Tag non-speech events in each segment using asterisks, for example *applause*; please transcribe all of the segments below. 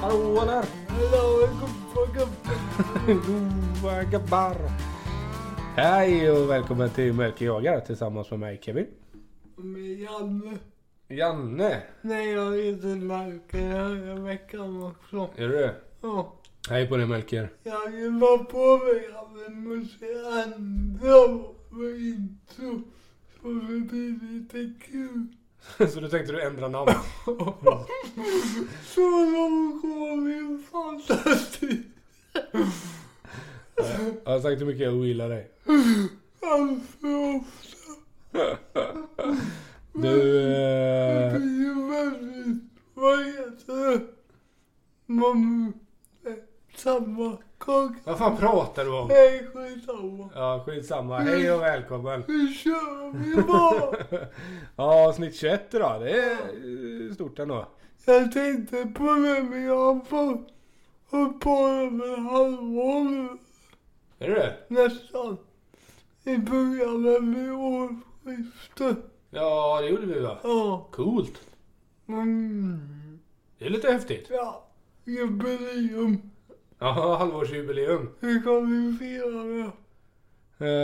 telefoner. Hallå gubbar, gubbar. *laughs* Goa gubbar. Hej och välkommen till Melker jagar tillsammans med mig Kevin. Med Janne. Janne. Nej jag är inte märken den här veckan också. Är du det? Ja. Hej på dig Melker. Jag vill vara på mig att vi måste ändra vår intro. Så det blir lite kul. *laughs* Så du tänkte du ändra namn? Så långt går min fantasi. *laughs* Jag har sagt hur mycket jag ogillar dig. Alltför ofta. Du... Det Eh, blir ju väldigt, vad heter det? Man, eh, samma kaka. vad fan pratar du om? Hej, skitsamma. *laughs* Ja skitsamma. Hej och välkommen. *laughs* Vi kör, vi bara. Ja snitt 21 idag. Det är eh, stort ändå. Jag tänkte på det, men jag har fått upp på det med halvår nu, Är du det? nästan. I början av vid årsskiftet. Ja det gjorde vi va? Ja. Coolt. Mm. Det är lite häftigt. Ja. Jubileum. Ja, halvårsjubileum. Hur kan vi fira det?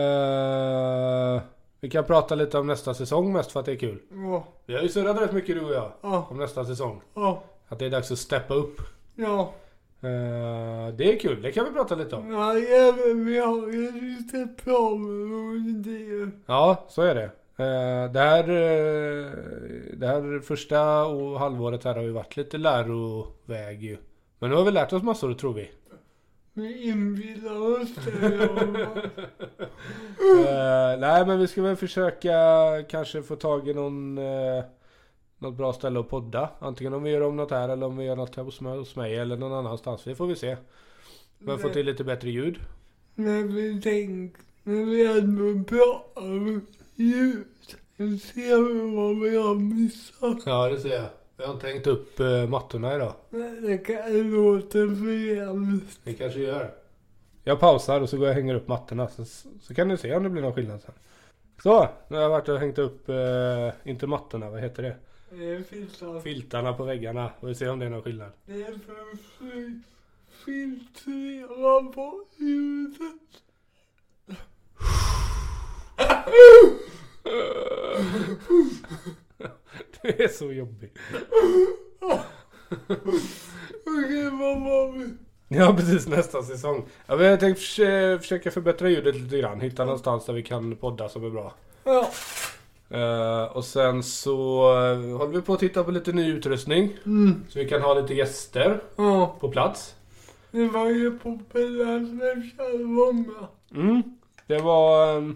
Eh, vi kan prata lite om nästa säsong mest för att det är kul. Ja. Vi har ju surrat rätt mycket du och jag Ja. om nästa säsong. Ja. Att det är dags att steppa upp. Ja. Eh, det är kul, det kan vi prata lite om. Ja, jävlar, vi har ju lite planer och idéer. Ja, så är det. Eh, det, här, eh, det här första och halvåret här har ju varit lite läroväg ju. Men nu har vi lärt oss massor tror vi. Vi inbillar oss det. ja. Eh, nej men vi ska väl försöka kanske få tag i någon eh, Något bra ställe att podda. Antingen om vi gör om något här eller om vi gör något här hos mig, hos mig eller någon annanstans. Det får vi se. Men få Nej. till lite bättre ljud. När vi tänker, när vi ändå pratar om ljus, då ser vi vad vi har missat. Ja det ser jag. Vi har inte hängt upp eh, mattorna idag. Nej, Det kan låta för jävligt. Det kanske gör. Jag pausar och så går jag och hänger upp mattorna. Så, så kan ni se om det blir någon skillnad sen. Så! Nu har jag varit och hängt upp, eh, inte mattorna, vad heter det? Det finns alltså, Filtarna på väggarna. Vi får se om det är någon skillnad. *laughs* det är för att filtrera på ljudet. Det är så jobbigt. Okej, vad var vi? Ja *laughs* precis, nästa säsong. Ja, men jag tänkte förs- eh, försöka förbättra ljudet lite grann. Hitta någonstans där vi kan podda som är bra. Ja. Eh, och sen så eh, håller vi på att titta på lite ny utrustning. Mm. Så vi kan ha lite gäster Ja. på plats. Det var ju populärt när Kjell var med. Mm. Det var... eh,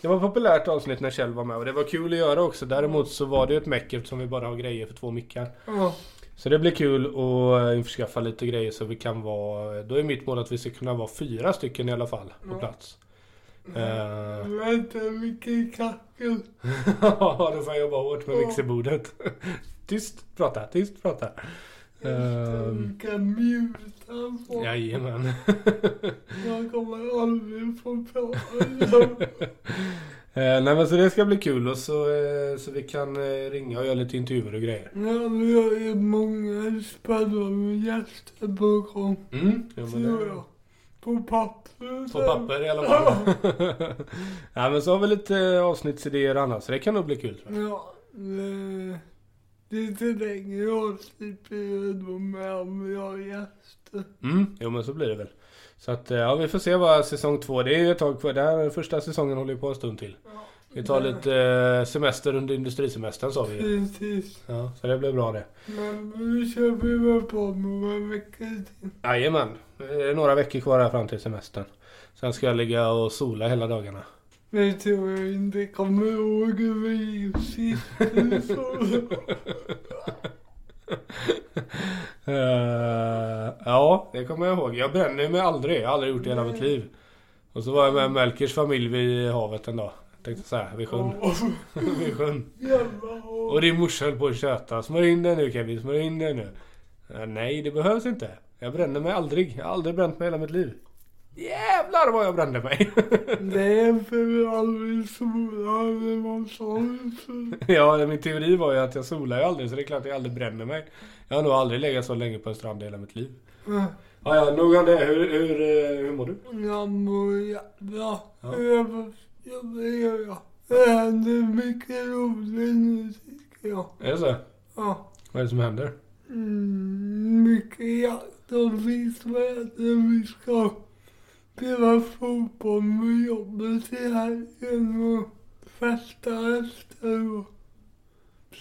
Det var ett populärt avsnitt när Kjell var med och det var kul att göra också. Däremot så var det ju ett meck eftersom vi bara har grejer för två mickar. Ja. Så det blir kul att eh, införskaffa lite grejer så vi kan vara... Då är mitt mål att vi ska kunna vara fyra stycken i alla fall på Ja. Mm. plats. Eh, Vänta, vilken kackel. Ja, *laughs* då får jag jobba hårt med mixerbordet. *laughs* Tyst prata, tyst prata. Just det, Ehm. vilken mjut han får. Jajamän. Jag kommer aldrig få prata. *laughs* Eh, nej men så det ska bli kul och så, eh, så vi kan eh, ringa och göra lite intervjuer och grejer. Ja, vi har ju många spännande gäster på gång, Mm. Ja, men tror det, jag. På pappret. på papper i alla fall. *laughs* nej men så har vi lite eh, avsnittsidéer och annat så det kan nog bli kul tror jag. Ja, det- lite längre avsnitt blir det då med om vi har gäster. Mm. Jo men så blir det väl. Så att eh, ja vi får se vad säsong två, det är ju ett tag kvar. Den här första säsongen håller ju på en stund till. Vi tar lite eh, semester under industrisemestern sa vi ju. Precis. Ja, så det blir bra det. Men nu kör vi väl på med en vecka till. Jajamän. Det är några veckor kvar här fram till semestern. Sen ska jag ligga och sola hela dagarna. Det tror jag inte kommer ihåg hur vi gick sist. Det är så. Eh, ja, det kommer jag ihåg. Jag bränner mig aldrig. Jag har aldrig gjort det i hela mitt liv. Och så var jag med Melkers familj vid havet en dag. Jag tänkte så här, vid sjön. *laughs* vid sjön. Jävla hårt. Och din morsa höll på att tjöta. Smörj in dig nu Kevin, smörj in dig nu. Eh, nej, det behövs inte. Jag bränner mig aldrig. Jag har aldrig bränt mig i hela mitt liv. Jävlar vad jag brände mig. *laughs* Det är för vi aldrig solar när man *laughs* solar. ja, min teori var ju att jag solar ju aldrig så det är klart jag aldrig bränner mig. Jag har nog aldrig legat så länge på en strand i hela mitt liv. Ja, ja, nog om det. Hur, hur, eh, hur mår du? Jag mår jättebra. Jag jobbar jag. Det händer mycket roligt nu tycker jag. Är det så? Ja. Vad är det som händer? Mm, mycket jakt och fiskväder. Vi ska spela fotboll med jobbet i helgen och festa efteråt.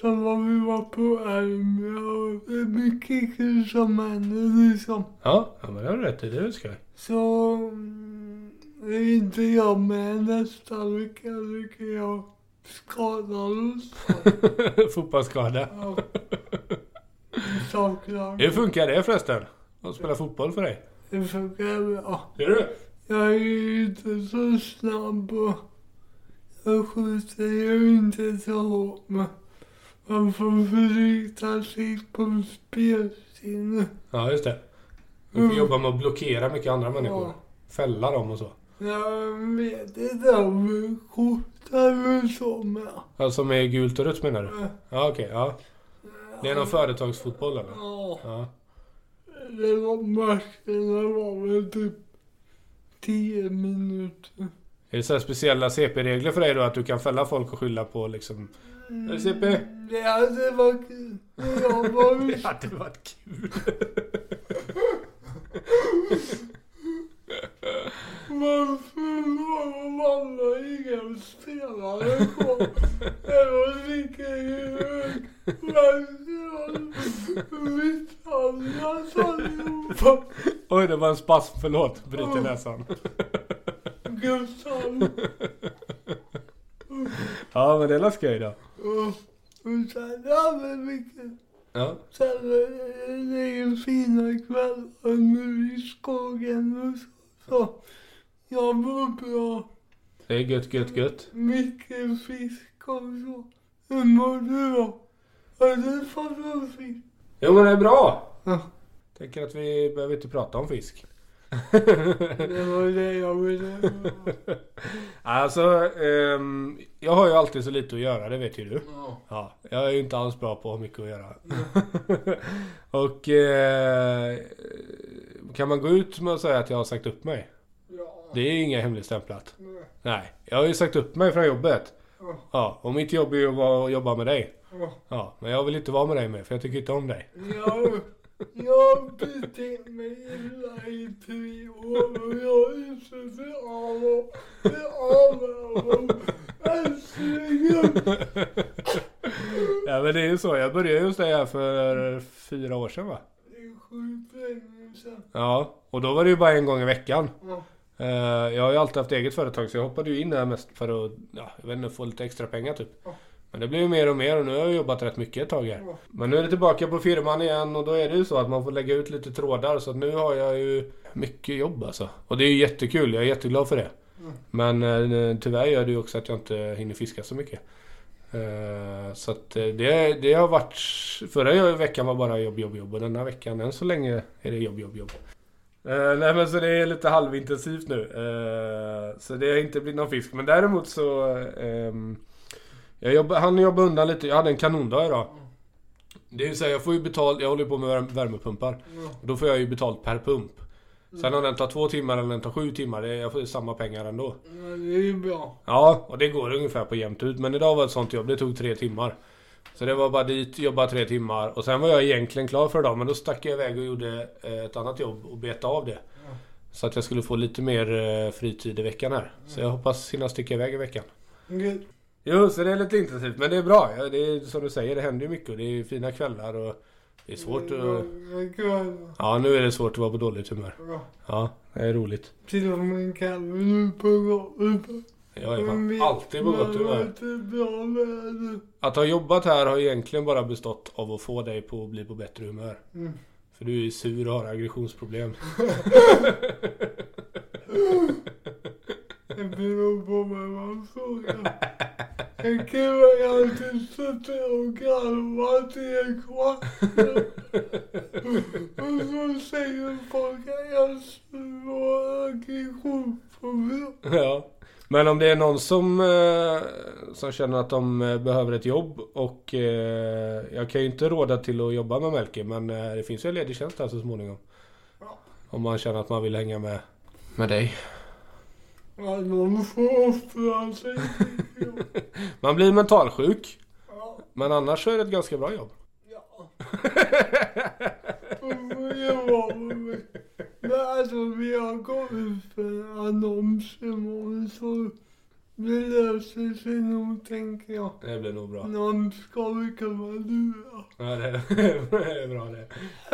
Sen var vi var på Elmia och det är mycket kul som händer liksom. Ja, ja men det har du rätt i. Det är väl skoj. *laughs* Så mm, det är inte jag med nästa vecka tycker jag. Skadad och så. Fotbollsskada. Ja. Saknar. Hur funkar det förresten? Att spela fotboll för dig? Det funkar bra. Gör du det? Jag är ju inte så snabb och jag skjuter ju inte så hårt men man får förlita sig på spelsinne. Ja, just det. Du får Mm. jobba med att blockera mycket andra människor. Ja. Fälla dem och så. Jag vet inte om vi skjuter eller så men... Ja, som är gult och rött menar du? Ja, okej. ja. Det är någon företagsfotboll eller? Ja, Ja. det var matcherna var väl typ 10 minuter. Är det så här speciella CP-regler för dig då? Att du kan fälla folk och skylla på liksom... Är det CP? Mm, Det hade varit kul. Jag var ju *laughs* Det hade varit kul. Varför var alla inga spelare kvar? Jag ligger ju verkligen misshandlas allihopa. Oj, det var en spasm. Förlåt. Bryter näsan. Gustav. Ja, men det är la skoj då. Och sen, ja men vilken... Ja. Sen eh, det är ju fina kvällar nu i skogen och så. så. Jag mår bra. Det är gött, gött, gött. Mycket fisk och så. Hur mår du då? Har du fått någon fisk? Jo, men det är bra. Ja. Tänker att vi behöver inte prata om fisk. Det var det jag ville. *laughs* Alltså, ehm, jag har ju alltid så lite att göra, det vet ju du. Ja. Ja, jag är ju inte alls bra på att ha mycket att *laughs* göra. och eh, kan man gå ut med att säga att jag har sagt upp mig? Ja. Det är ju inget hemligstämplat. Ja. Nej, jag har ju sagt upp mig från jobbet. Ja. Ja, och mitt jobb är ju att vara- att jobba med dig. Ja. Ja, men jag vill inte vara med dig mer för jag tycker inte om dig. Jag- Jag betett mig illa i tre år och jag är så förbannad. Förbannad. Älskling. Ja men det är ju så, jag började just det här för fyra år sedan va? Det är sjukt länge sedan. Ja, och då var det ju bara en gång i veckan. Ja. Eh, Jag har ju alltid haft eget företag så jag hoppade ju in här mest för att, ja, jag vet inte, få lite extra pengar typ. Ja. Men det blev ju mer och mer och nu har jag jobbat rätt mycket ett tag här. Ja. Men nu är det tillbaka på firman igen och då är det ju så att man får lägga ut lite trådar så att nu har jag ju mycket jobb alltså. Och det är ju jättekul, jag är jätteglad för det. Mm. Men eh, tyvärr gör det ju också att jag inte hinner fiska så mycket. Eh, Så att eh, det, det har varit... Förra veckan var bara jobb, jobb, jobb och denna veckan än så länge är det jobb, jobb, jobb. Eh, nej men så det är lite halvintensivt nu. Eh, så det har inte blivit någon fisk. Men däremot så... ehm, jag jobba, han jobba undan lite. Jag hade en kanondag idag. Det är ju så här, jag får ju betalt. Jag håller ju på med värme- värmepumpar. Ja. Då får jag ju betalt per pump. Sen om den tar två timmar eller den tar sju timmar. Det, jag får ju samma pengar ändå. Men det är ju bra. Ja, och det går ungefär på jämnt ut. Men idag var ett sånt jobb. Det tog tre timmar. Så det var bara dit, jobba tre timmar. Och sen var jag egentligen klar för idag. Men då stack jag iväg och gjorde eh, ett annat jobb och betade av det. Ja. Så att jag skulle få lite mer eh, fritid i veckan här. Så jag hoppas hinna sticka iväg i veckan. Gud. Jo, så det är lite intensivt. Men det är bra. Ja, Det är som du säger, det händer ju mycket. Och det är fina kvällar och det är svårt eh. att... Mm. Gud. Ja, nu är det svårt att vara på dåligt humör. Ja. Ja, det är roligt. Till och med kalven nu på golvet. Jag är Mm, fan alltid på gott Det var humör. inte bra väder. Att ha jobbat här har egentligen bara bestått av att få dig på att bli på bättre humör. Mm. För du är sur och har aggressionsproblem. *laughs* Det beror på vem man frågar. En kille har alltid suttit och garvat i en kvart. Och så säger folk att jag slår aggressionsproblem. Ja. Men om det är någon som, eh, som känner att de eh, behöver ett jobb och eh, jag kan ju inte råda till att jobba med Melker men eh, det finns ju en ledig tjänst här så småningom. Ja. Om man känner att man vill hänga med. Med dig. Ja, någon får offra sig. Man blir mentalsjuk. Ja, Men annars så är det ett ganska bra jobb. ja. Då får jag vara med mig. Men alltså, vi har gått ut för annons imorgon så det löser sig nog, tänker jag. Det blir nog bra. Någon ska vi kunna lura. Ja, det, det är *laughs* bra det.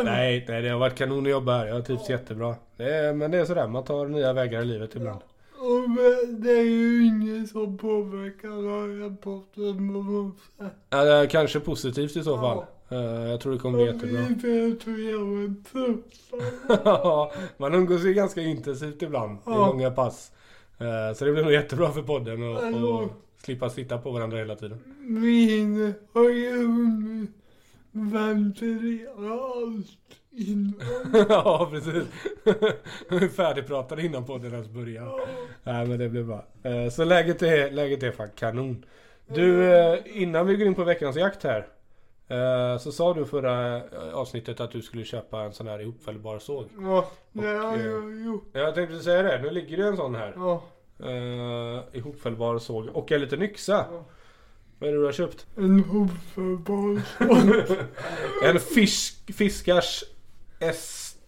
Nej, nej, det har varit kanon att jobba här. Jag har trivts jättebra. Det är, men det är sådär, man tar nya vägar i livet ibland. Och men det är ju ingen som påverkar den rapporten på något sätt. Ja, kanske positivt i så fall. Eh, Jag tror det kommer bli jättebra. *laughs* Och vi vet hur jävla trötta Ja, man umgås ju ganska intensivt ibland i Ja. många pass. Eh, Så det blir nog jättebra för podden och, och Hallå. slippa sitta på varandra hela tiden. *laughs* Min har ju hunnit ventilera allt innan. Ja, precis. *laughs* Färdigpratade innan podden ens börjar. Nej, men det blir bra. Eh, Så läget är, läget är fan kanon. Du, eh, innan vi går in på veckans jakt här. eh, Så sa du förra eh, avsnittet att du skulle köpa en sån här ihopfällbar såg. Ja, det har Och, eh, jag gjort. Jag tänkte säga det, nu ligger det en sån här. Ja. Eh, ihopfällbar såg och en liten yxa. Ja. Vad är det du har köpt? *laughs* En hopfällbar sån. En fisk, fiskars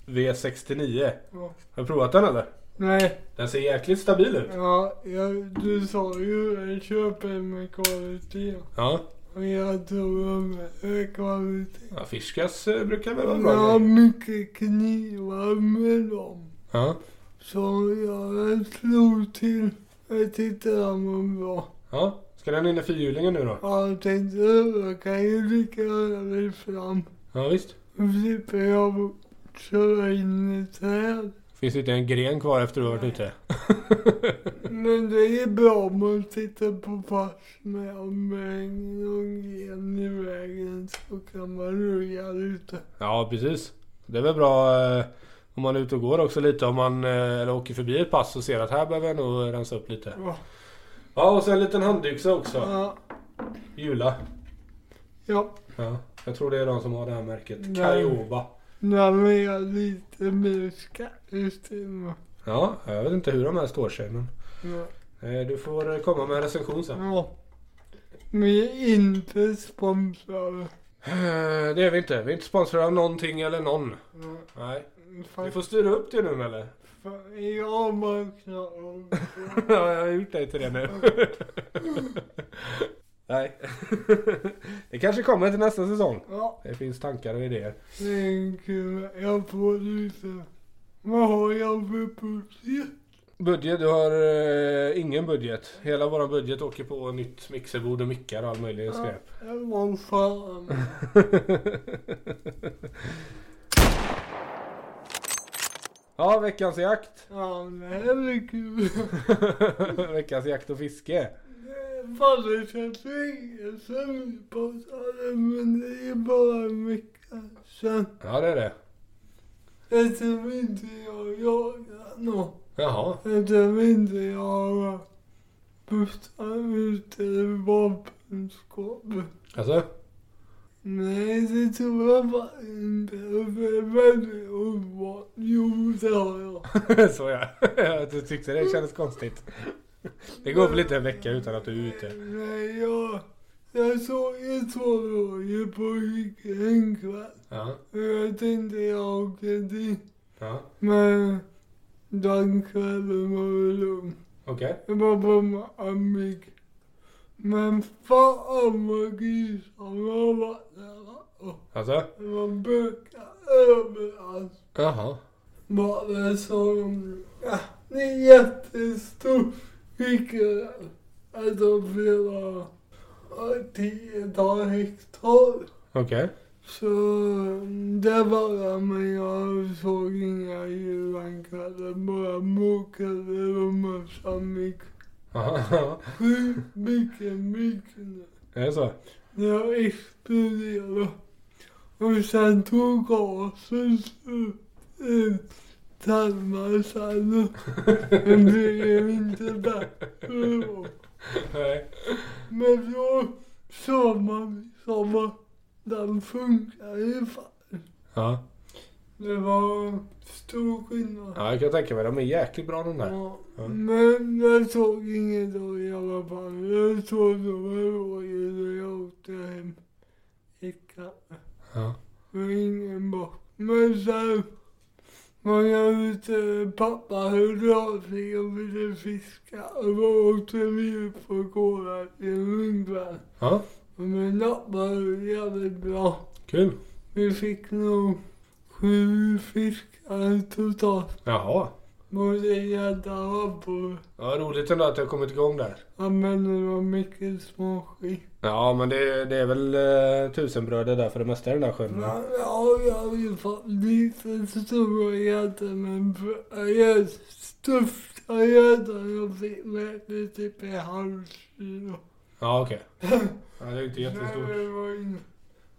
SV69. Ja. Har du provat den eller? Nej, Den ser jäkligt stabil ut. ja, jag, du sa ju jag köper med kvalitet. Ja. Och jag tror de är kvalitet. ja fiskas eh, brukar väl vara Jag bra har grejer. mycket knivar med dem. Ja. Så jag slog till. Jag tyckte de var bra. ja. Ska den in i fyrhjulingen nu då? Ja, jag tänkte jag kan ju lika gärna bli fram. Ja visst. Då slipper jag köra in i träd. Finns inte en gren kvar efter du har varit ute? Men det är bra om man sitter på pass med om det hänger någon gren i vägen så kan man röja lite. *laughs* Ja precis. Det är väl bra eh, om man är ute och går också lite. Om man eh, eller åker förbi ett pass och ser att här behöver jag nog rensa upp lite. Ja. Ja och så en liten handyxa också. Ja. Jula. ja. Ja. Jag tror det är de som har det här märket. Nej. Carioba. Den är lite mer skarpstimmad. Ja, jag vet inte hur de här står sig men Ja. eh, du får eh, komma med en recension sen. ja. Vi är inte sponsrade. Eh, Det är vi inte. Vi är inte sponsrade av någonting eller någon. Ja. Nej. Du Fast- får styra upp det nu eller? Fan, Jag vaknar om. *laughs* Ja, jag har gjort dig till det nu. *laughs* Nej. *laughs* Det kanske kommer till nästa säsong. Ja, Det finns tankar och idéer. det är en kul. Jag får lite. Vad har jag för budget? Budget, du har eh, ingen budget. Hela vår budget åker på nytt mixerbord och mickar och all möjlig skräp. *laughs* Jag var fan. Ja, veckans jakt. *laughs* Ja, det här blir kul. veckans jakt och fiske. Faller jag tvingas sömnpassare men det är bara en vecka sen. Ja, det är det. Eftersom typ inte jag jagar någon. Jaha. Eftersom inte jag har bussar ute i vapenskåpet. Alltså? Nej, det tror jag bara inte. För det är väldigt ovanligt. Jo, det har *laughs* jag. Så ja. Du tyckte det kändes konstigt. Det går väl inte en vecka utan att du är ute. Nej, jag, jag såg ett rådjur på Hycke en kväll. Ja. Och jag tänkte jag åker dit. Ja. Men den kvällen var det lugnt. Okej. Det var bara med Amik. Men fan vad grisarna var där. Och Alltså? Det var bökar överallt. Jaha. Bara sa de, ja, det är jättestor hyckel. Alltså flera, ja, tiotal hektar. Okej. Så det var det, men jag såg inga djur den kvällen. Bara mokade och massa mygg. Jaha. Sju mycket mygg nu. Är det så? Det har exploderat. Och sen tog gasen slut i termoshallen. Det blev inte bättre då. Nej. Men då sa man liksom att den funkar ju fan. Ja. Det var stor skillnad. ja, jag kan tänka mig. De är jäkligt bra de där. Ja, Ja. Men jag såg inget då i alla fall. Jag såg de här rådjuren när jag åkte hem. Icka. Ja. Och ingen bort. Men sen var jag ute. Pappa hörde av sig och ville fiska. Och då åkte vi upp på gården till Lundgren. ja. Och min pappa höll jävligt bra. Kul. Vi fick nog sju fiskar totalt. Jaha. Både gädda och abborre. Ja, roligt ändå att det har kommit igång där. använder man mycket småskit. Ja, men det, det är väl eh, tusenbröder där för det mesta i den där sjön. va? Ja, jag har ju fan lite stora gäddor men den största gäddan jag fick vägde typ en halv kilo. Ja, okej. Ja, det är inte Nej, jättestort. det var ingen-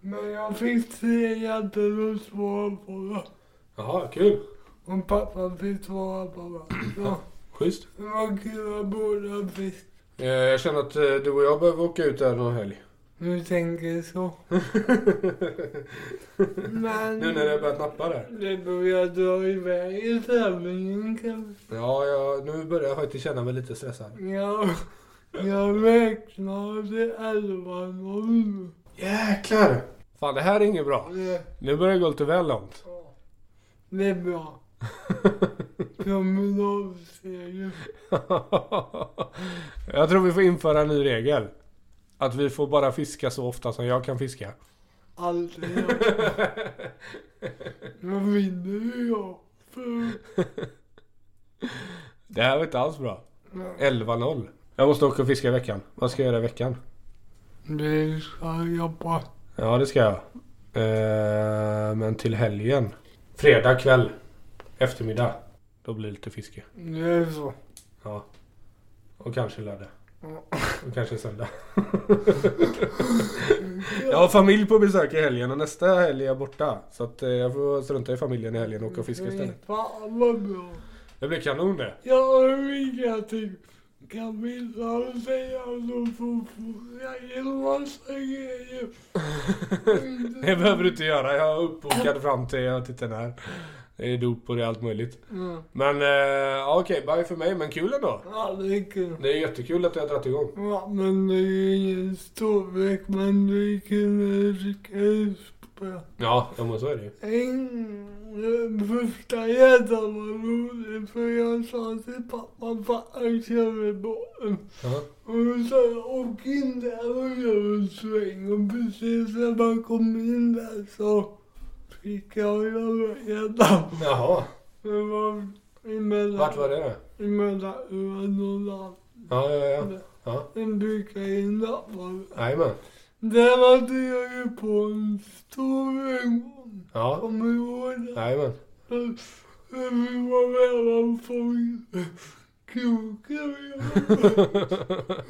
Men jag fick tre gäddor och två abborrar. Jaha, kul. Och pappa fick två abborrar. Ja, Schysst. det var kul att båda fick. Eh, Jag känner att eh, du och jag behöver åka ut där någon helg. Nu tänker jag så. *laughs* Men... nu när det har börjat nappa där. Det börjar dra iväg i tävlingen kanske. Ja, jag, nu börjar jag faktiskt känna mig lite stressad. Jag, jag räknade 11-0. Jäklar! Fan, det här är inget bra. Det, Nu börjar det gå lite väl långt. *laughs* det är bra. Promenadseger. jag tror vi får införa en ny regel. Att vi får bara fiska så ofta som jag kan fiska. *laughs* Aldrig. Då vinner ju jag. För- Det här var inte alls bra. 11-0. Jag måste åka och fiska i veckan. Vad ska jag göra i veckan? Det ska jag jobba. Ja, det ska jag. Eh, men till helgen. Fredag kväll. Eftermiddag. Då blir det lite fiske. Det är så. Ja. Och kanske lördag. Och kanske söndag. jag har familj på besök i helgen och nästa helg är jag borta. Så att eh, jag får strunta i familjen i helgen och åka och fiska istället. Fy Fan vad bra. Det blir kanon det. Jag har ingenting. Camilla säger att hon får fråga en massa grejer. *laughs* Det behöver du inte göra. Jag är uppbokad fram till jag tittar här. Det är dop och det är allt möjligt. Ja, Men eh, ja, okej, bye för mig. Men kul ändå. Ja, det är kul. Det är jättekul att du har dragit igång. Ja, men det är ju ingen storlek, men det är kul att rycka ut på. Ja, ja men så är det ju. En- Den första gäddan var rolig, för jag sa till pappa, pappa kör i båten. Ja. Och då sa jag, åk in där och gör en sväng. Och precis när man kom in där så fick jag göra gäddan. Jaha. Det var emellan... Vart var det då? Emellan Öland och land. Ja, ja, ja. Ja. En brukar in där. Jajamän. Där hade jag ju på en stor en gång. Ja. Kommer du ihåg det? Jajamän. Vi var mellanfång. Kroken vi var. *laughs*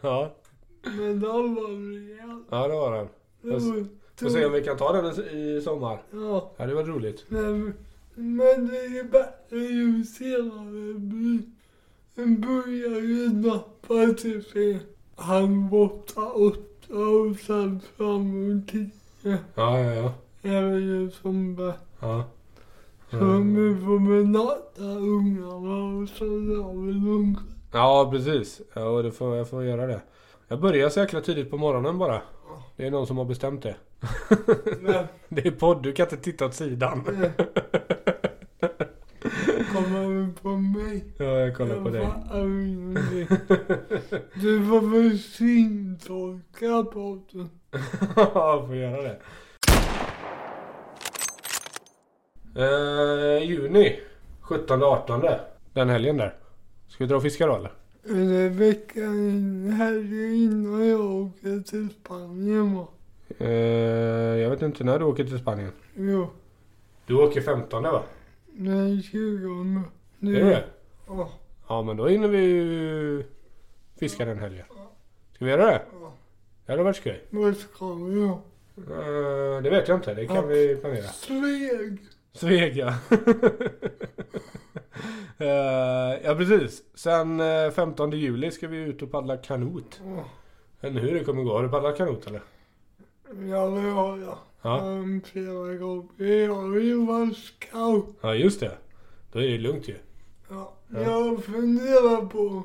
ja. Men den var rejäl. ja, det var den. Det var Får se om vi kan ta den i sommar. Ja. Ja, det var roligt. Men, men det är bättre ju senare det blir. Den börjar ju nappa typ i halv åtta, åtta och sen framåt tio. Ja, ja, ja. Även ju som bäst. Ja. Eh, Så nu får vi natta ungarna och så drar vi lugnt. Ja, precis. Ja, och det får, jag får göra det. Jag börjar så jäkla tidigt på morgonen bara. Det är någon som har bestämt det. Men Det är podd, du kan inte titta åt sidan. eh, kommer vi på mig. Ja, jag kollar på Jag dig. *laughs* fattar ju ingenting. Du får väl syntolka podden. Ja, får göra det. Eh, juni 17-18 Den helgen där. Ska vi dra och fiska då eller? Eller veckan helgen innan jag åker till Spanien va? Eh, jag vet inte när du åker till Spanien. Jo, Du åker 15 va? den 20. Är det det? Ja. Ja men då hinner vi ju oh, fiska den helgen. Ska vi göra det? Det hade varit skoj. Vad ska jag? Eh, det vet jag inte. Det kan Ja. vi planera. Sveg. Sveg *laughs* ja. Eh, ja precis. Sen eh, 15 juli ska vi ut och paddla kanot. Åh, Jag vet inte hur det kommer gå. Har du paddlat kanot eller? Ja, det har jag. Ja. Um, flera gånger. Jag vill vara scout. Ja just det. Då är det lugnt ju. Ja. Ja. Jag funderar på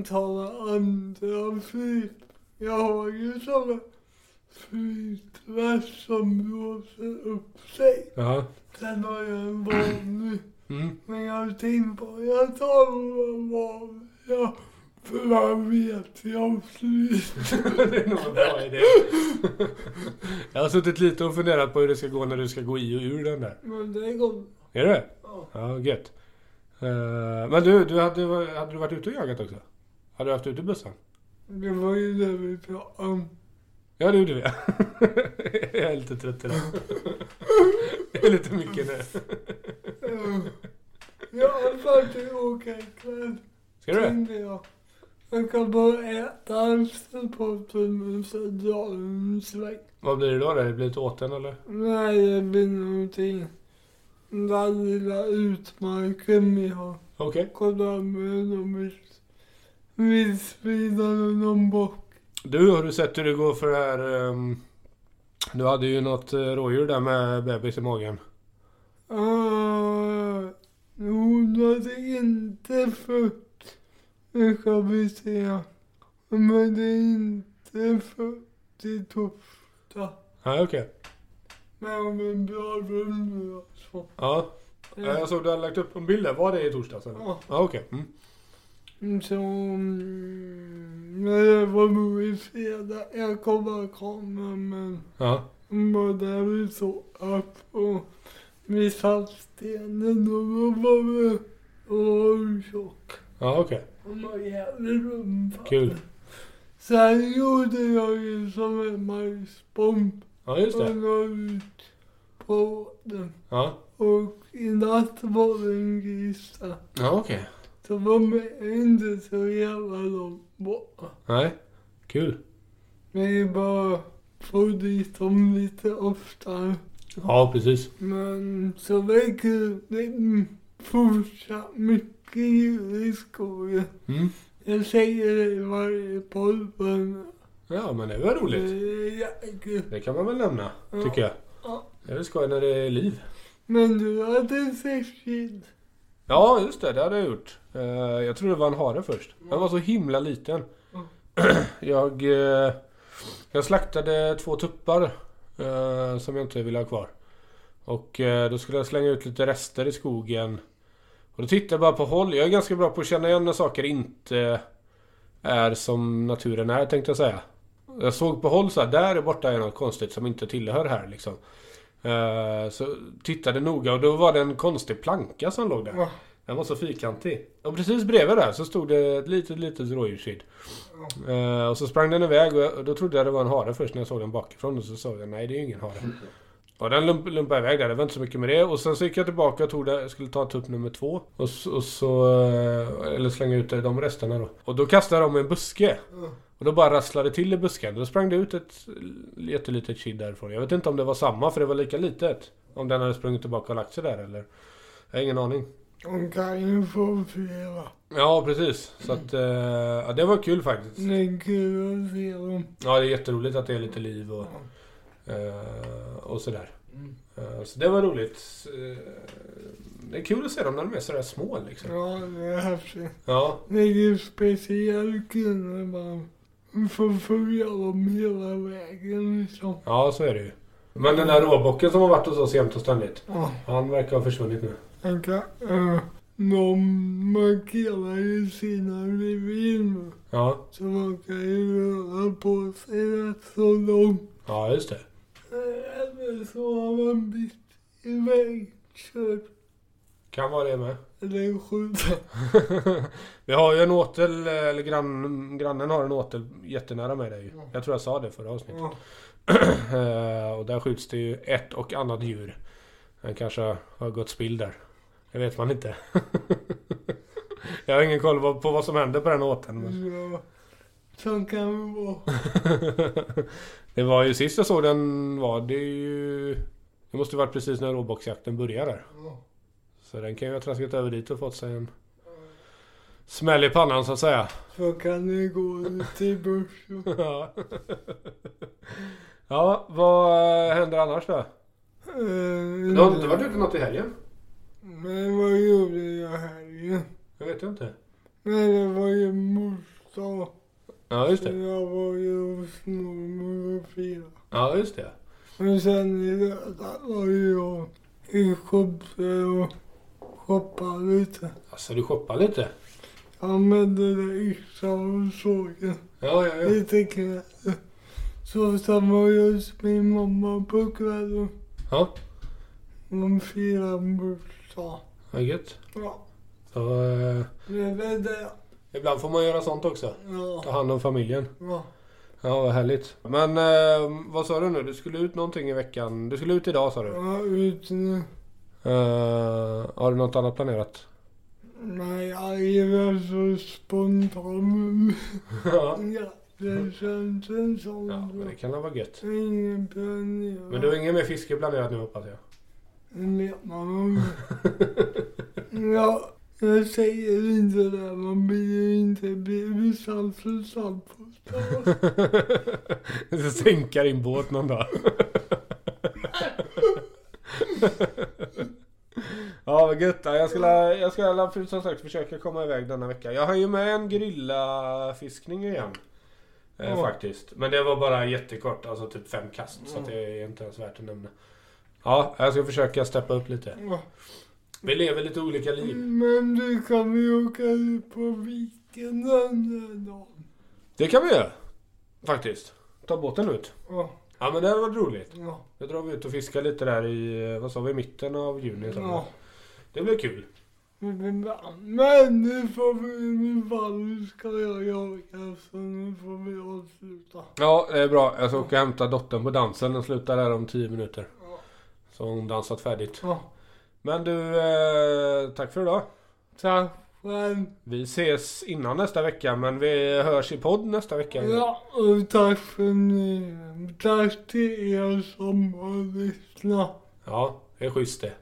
att ta andra flyt. Jag har ju sådana flytväst som blåser upp sig. Ja. Sen har jag en vanlig. Mm. *laughs* Men jag tänkte på, jag tar en vanlig. För jag vet, jag flyter. det är nog en bra idé. jag har suttit lite och funderat på hur det ska gå när du ska gå i och ur den där. *laughs* Men det går Är det det? bra. Ja, gött. Eh, men du, du hade, hade du varit ute och jagat också? Hade du haft ute bössan? Det var ju det vi pratade om. Ja, det gjorde vi. *laughs* jag är lite trött idag. det är lite mycket nu. Eh, Jag ska till åka ikväll. Ska du det? tänkte jag. Jag ska bara äta hamsterpotten och så dra en sväng. Vad blir det då? då? Det blir ett åten eller? Nej, det blir någonting. Den där lilla utmarken vi har. Okej. Kolla med de vilt- vildsvinen och någon bock. Du, har du sett hur det går för det här... ehm, du hade ju något eh, rådjur där med bebis i magen. Ah, hon hade inte fött. Det ska vi se. Men det är inte fött i torsdag. Ja, okej. Men om en bra rund nu alltså. Ja. Ja, Jag såg du hade lagt upp en bild där. Var det i torsdags eller? Ja, Ja, okej. Mm. så... mm, Men det var nog i fredag. Jag kommer komma men... Ja. var där vi så upp och vi satt stenen och då var vi... Och var tjock. Ja, okej. Han var jävligt rumpa. Kul. Sen gjorde jag ju som en majsbomb. Ja, just Och det. la ut på den. Ja. Och i natt var det en gris där. Ja, okej. Så de är inte så jävla långt borta. Nej. Kul. Vi bara får dit dem lite oftare. Ja, precis. Men så väcker det fortsatt mycket djur i skogen. Mm. Jag säger det i varje podd men Ja, men det var det roligt. är jättekul. Det kan man väl nämna, Ja. tycker jag. Ja. Det är väl skoj när det är liv. Men du hade sexigt. Ja, just det. Det hade jag gjort. Eh, jag trodde det var en hare först. Den var så himla liten. Mm. *clears throat* Jag, eh, jag slaktade två tuppar eh, som jag inte ville ha kvar. Och eh, då skulle jag slänga ut lite rester i skogen. Och då tittade jag bara på håll. Jag är ganska bra på att känna igen när saker inte är som naturen är tänkte jag säga. Jag såg på håll så här, där är borta är något konstigt som inte tillhör här liksom. Eh, så tittade noga och då var det en konstig planka som låg där. Ja. Den var så fyrkantig. Och precis bredvid där så stod det ett litet, litet rådjurskid. Eh, och så sprang den iväg och, jag, och då trodde jag det var en hare först när jag såg den bakifrån. Och så sa jag nej det är ju ingen hare. Och den lump, lumpade iväg där, det var inte så mycket med det. Och sen så gick jag tillbaka och tog det, jag skulle ta tupp nummer två. Och, så- och så... eh, Eller slänga ut de resterna då. Och då kastade jag dem i en buske. Och då bara rasslade det till i busken. Då sprang det ut ett jättelitet kid därifrån. Jag vet inte om det var samma för det var lika litet. Om den hade sprungit tillbaka och lagt sig där eller? Jag har ingen aning. De kan ju få flera. Ja, precis. Så att, eh, ja, det var kul faktiskt. Det är kul att se dem. Ja, det är jätteroligt att det är lite liv och, eh, och sådär. Eh, så det var roligt. Eh, det är kul att se dem när de är sådär små liksom. Ja, det är häftigt. Ja, Det är ju speciellt kul när man får följa dem hela vägen liksom. ja så är det ju. Men den där råbocken som har varit hos oss jämt och ständigt. Ja, Han verkar ha försvunnit nu. han kan, eh, de markerar ju sina revir nu. Ja, Så man kan ju röra på sig rätt så långt. ja just det. Eh, Eller så har man blivit iväg, kört Kan vara det med. *laughs* eller skjutit. Vi har ju en åtel, eh, eller grann, grannen har en åtel jättenära med dig. ju. Jag tror jag sa det förra avsnittet. Ja, Eh, och där skjuts det ju ett och annat djur. Den kanske har gått spill där. Det vet man inte. *laughs* Mm. jag har ingen koll på, på vad som händer på den åten. Men... så som kan vara. *laughs* det var ju sist jag såg den var det ju... Det måste varit precis när råbocksjakten började. Ja. Så den kan ju ha traskat över dit och fått sig en smäll i pannan så att säga. *laughs* Så kan det gå ut i börsen. Ja, ja vad händer annars då? Eh, Du har inte varit ute något i helgen? Men vad gjorde jag här ju? Jag vet inte. Men det var ju morsdag. Ja, just Så det. Jag var ju hos mormor och firade. Ja, just det. Men sen i lördag var ju jag i Skopje och shoppade lite. Alltså, du shoppar lite? Jag använde där yxan och sågen. Ja, ja, ja. Lite kläder. Så sen var jag hos min mamma på kvällen. Ja, Hon firade morsdag. vad gött. Ja, Så, eh, det var det. ibland får man göra sånt också. Ta Ja, hand om familjen. ja. Ja, vad härligt. Men eh, vad sa du nu? Du skulle ut någonting i veckan. Du skulle ut idag sa du. Jag är ute nu. Eh, har du något annat planerat? Nej, jag är så spontan. *laughs* ja. Ja, det känns en sån. ja, men det kan väl vara gött. Ingen planering. Men du har inget mer fiske planerat nu hoppas jag? Det vet man om. ja, jag säger inte det. Man blir ju inte alltså, bebisar för samförstånd. *laughs* Du ska sänka din båt någon dag. *laughs* ja vad gött. Ja, Jag skulle, jag skulle alla- för- som sagt försöka komma iväg denna vecka. Jag har ju med en grillafiskning igen. Eh, Ja. Faktiskt. Men det var bara jättekort. Alltså typ fem kast. Så att det är inte ens värt att nämna. Ja, jag ska försöka steppa upp lite. Ja. Vi lever lite olika liv. Men du kan vi åka ut på viken den där dagen. Det kan vi göra. Faktiskt. Ta båten ut. Ja, Ja men det hade varit roligt. ja, Då drar vi ut och fiskar lite där i, eh, vad sa vi, mitten av juni. Ja. ja. Det blir kul. Men nu får vi, nu fan nu ska jag jaga så nu får vi avsluta. Ja, det är bra. Jag ska åka och hämta dottern på dansen. Den slutar där om 10 minuter. Ja. Så har hon dansat färdigt. Ja. Men du, eh, tack för idag. Tack själv. Vi ses innan nästa vecka, men vi hörs i podd nästa vecka. Ja, och tack för nu. Tack till er som har lyssnat. Ja, det är schysst det.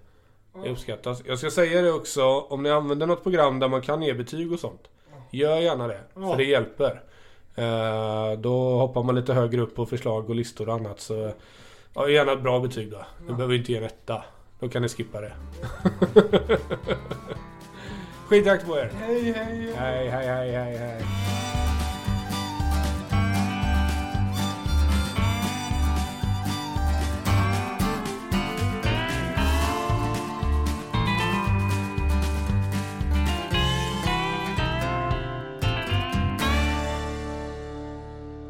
Det Ja. uppskattas. Jag ska säga det också, om ni använder något program där man kan ge betyg och sånt. Gör gärna det, Ja. för det hjälper. Eh, Då hoppar man lite högre upp på förslag och listor och annat. Så ja, gärna ett bra betyg då. Ni behöver inte ge en etta. Då kan ni skippa det. Skitjakt på er! Hej, hej. Hej, hej, hej, hej, hej.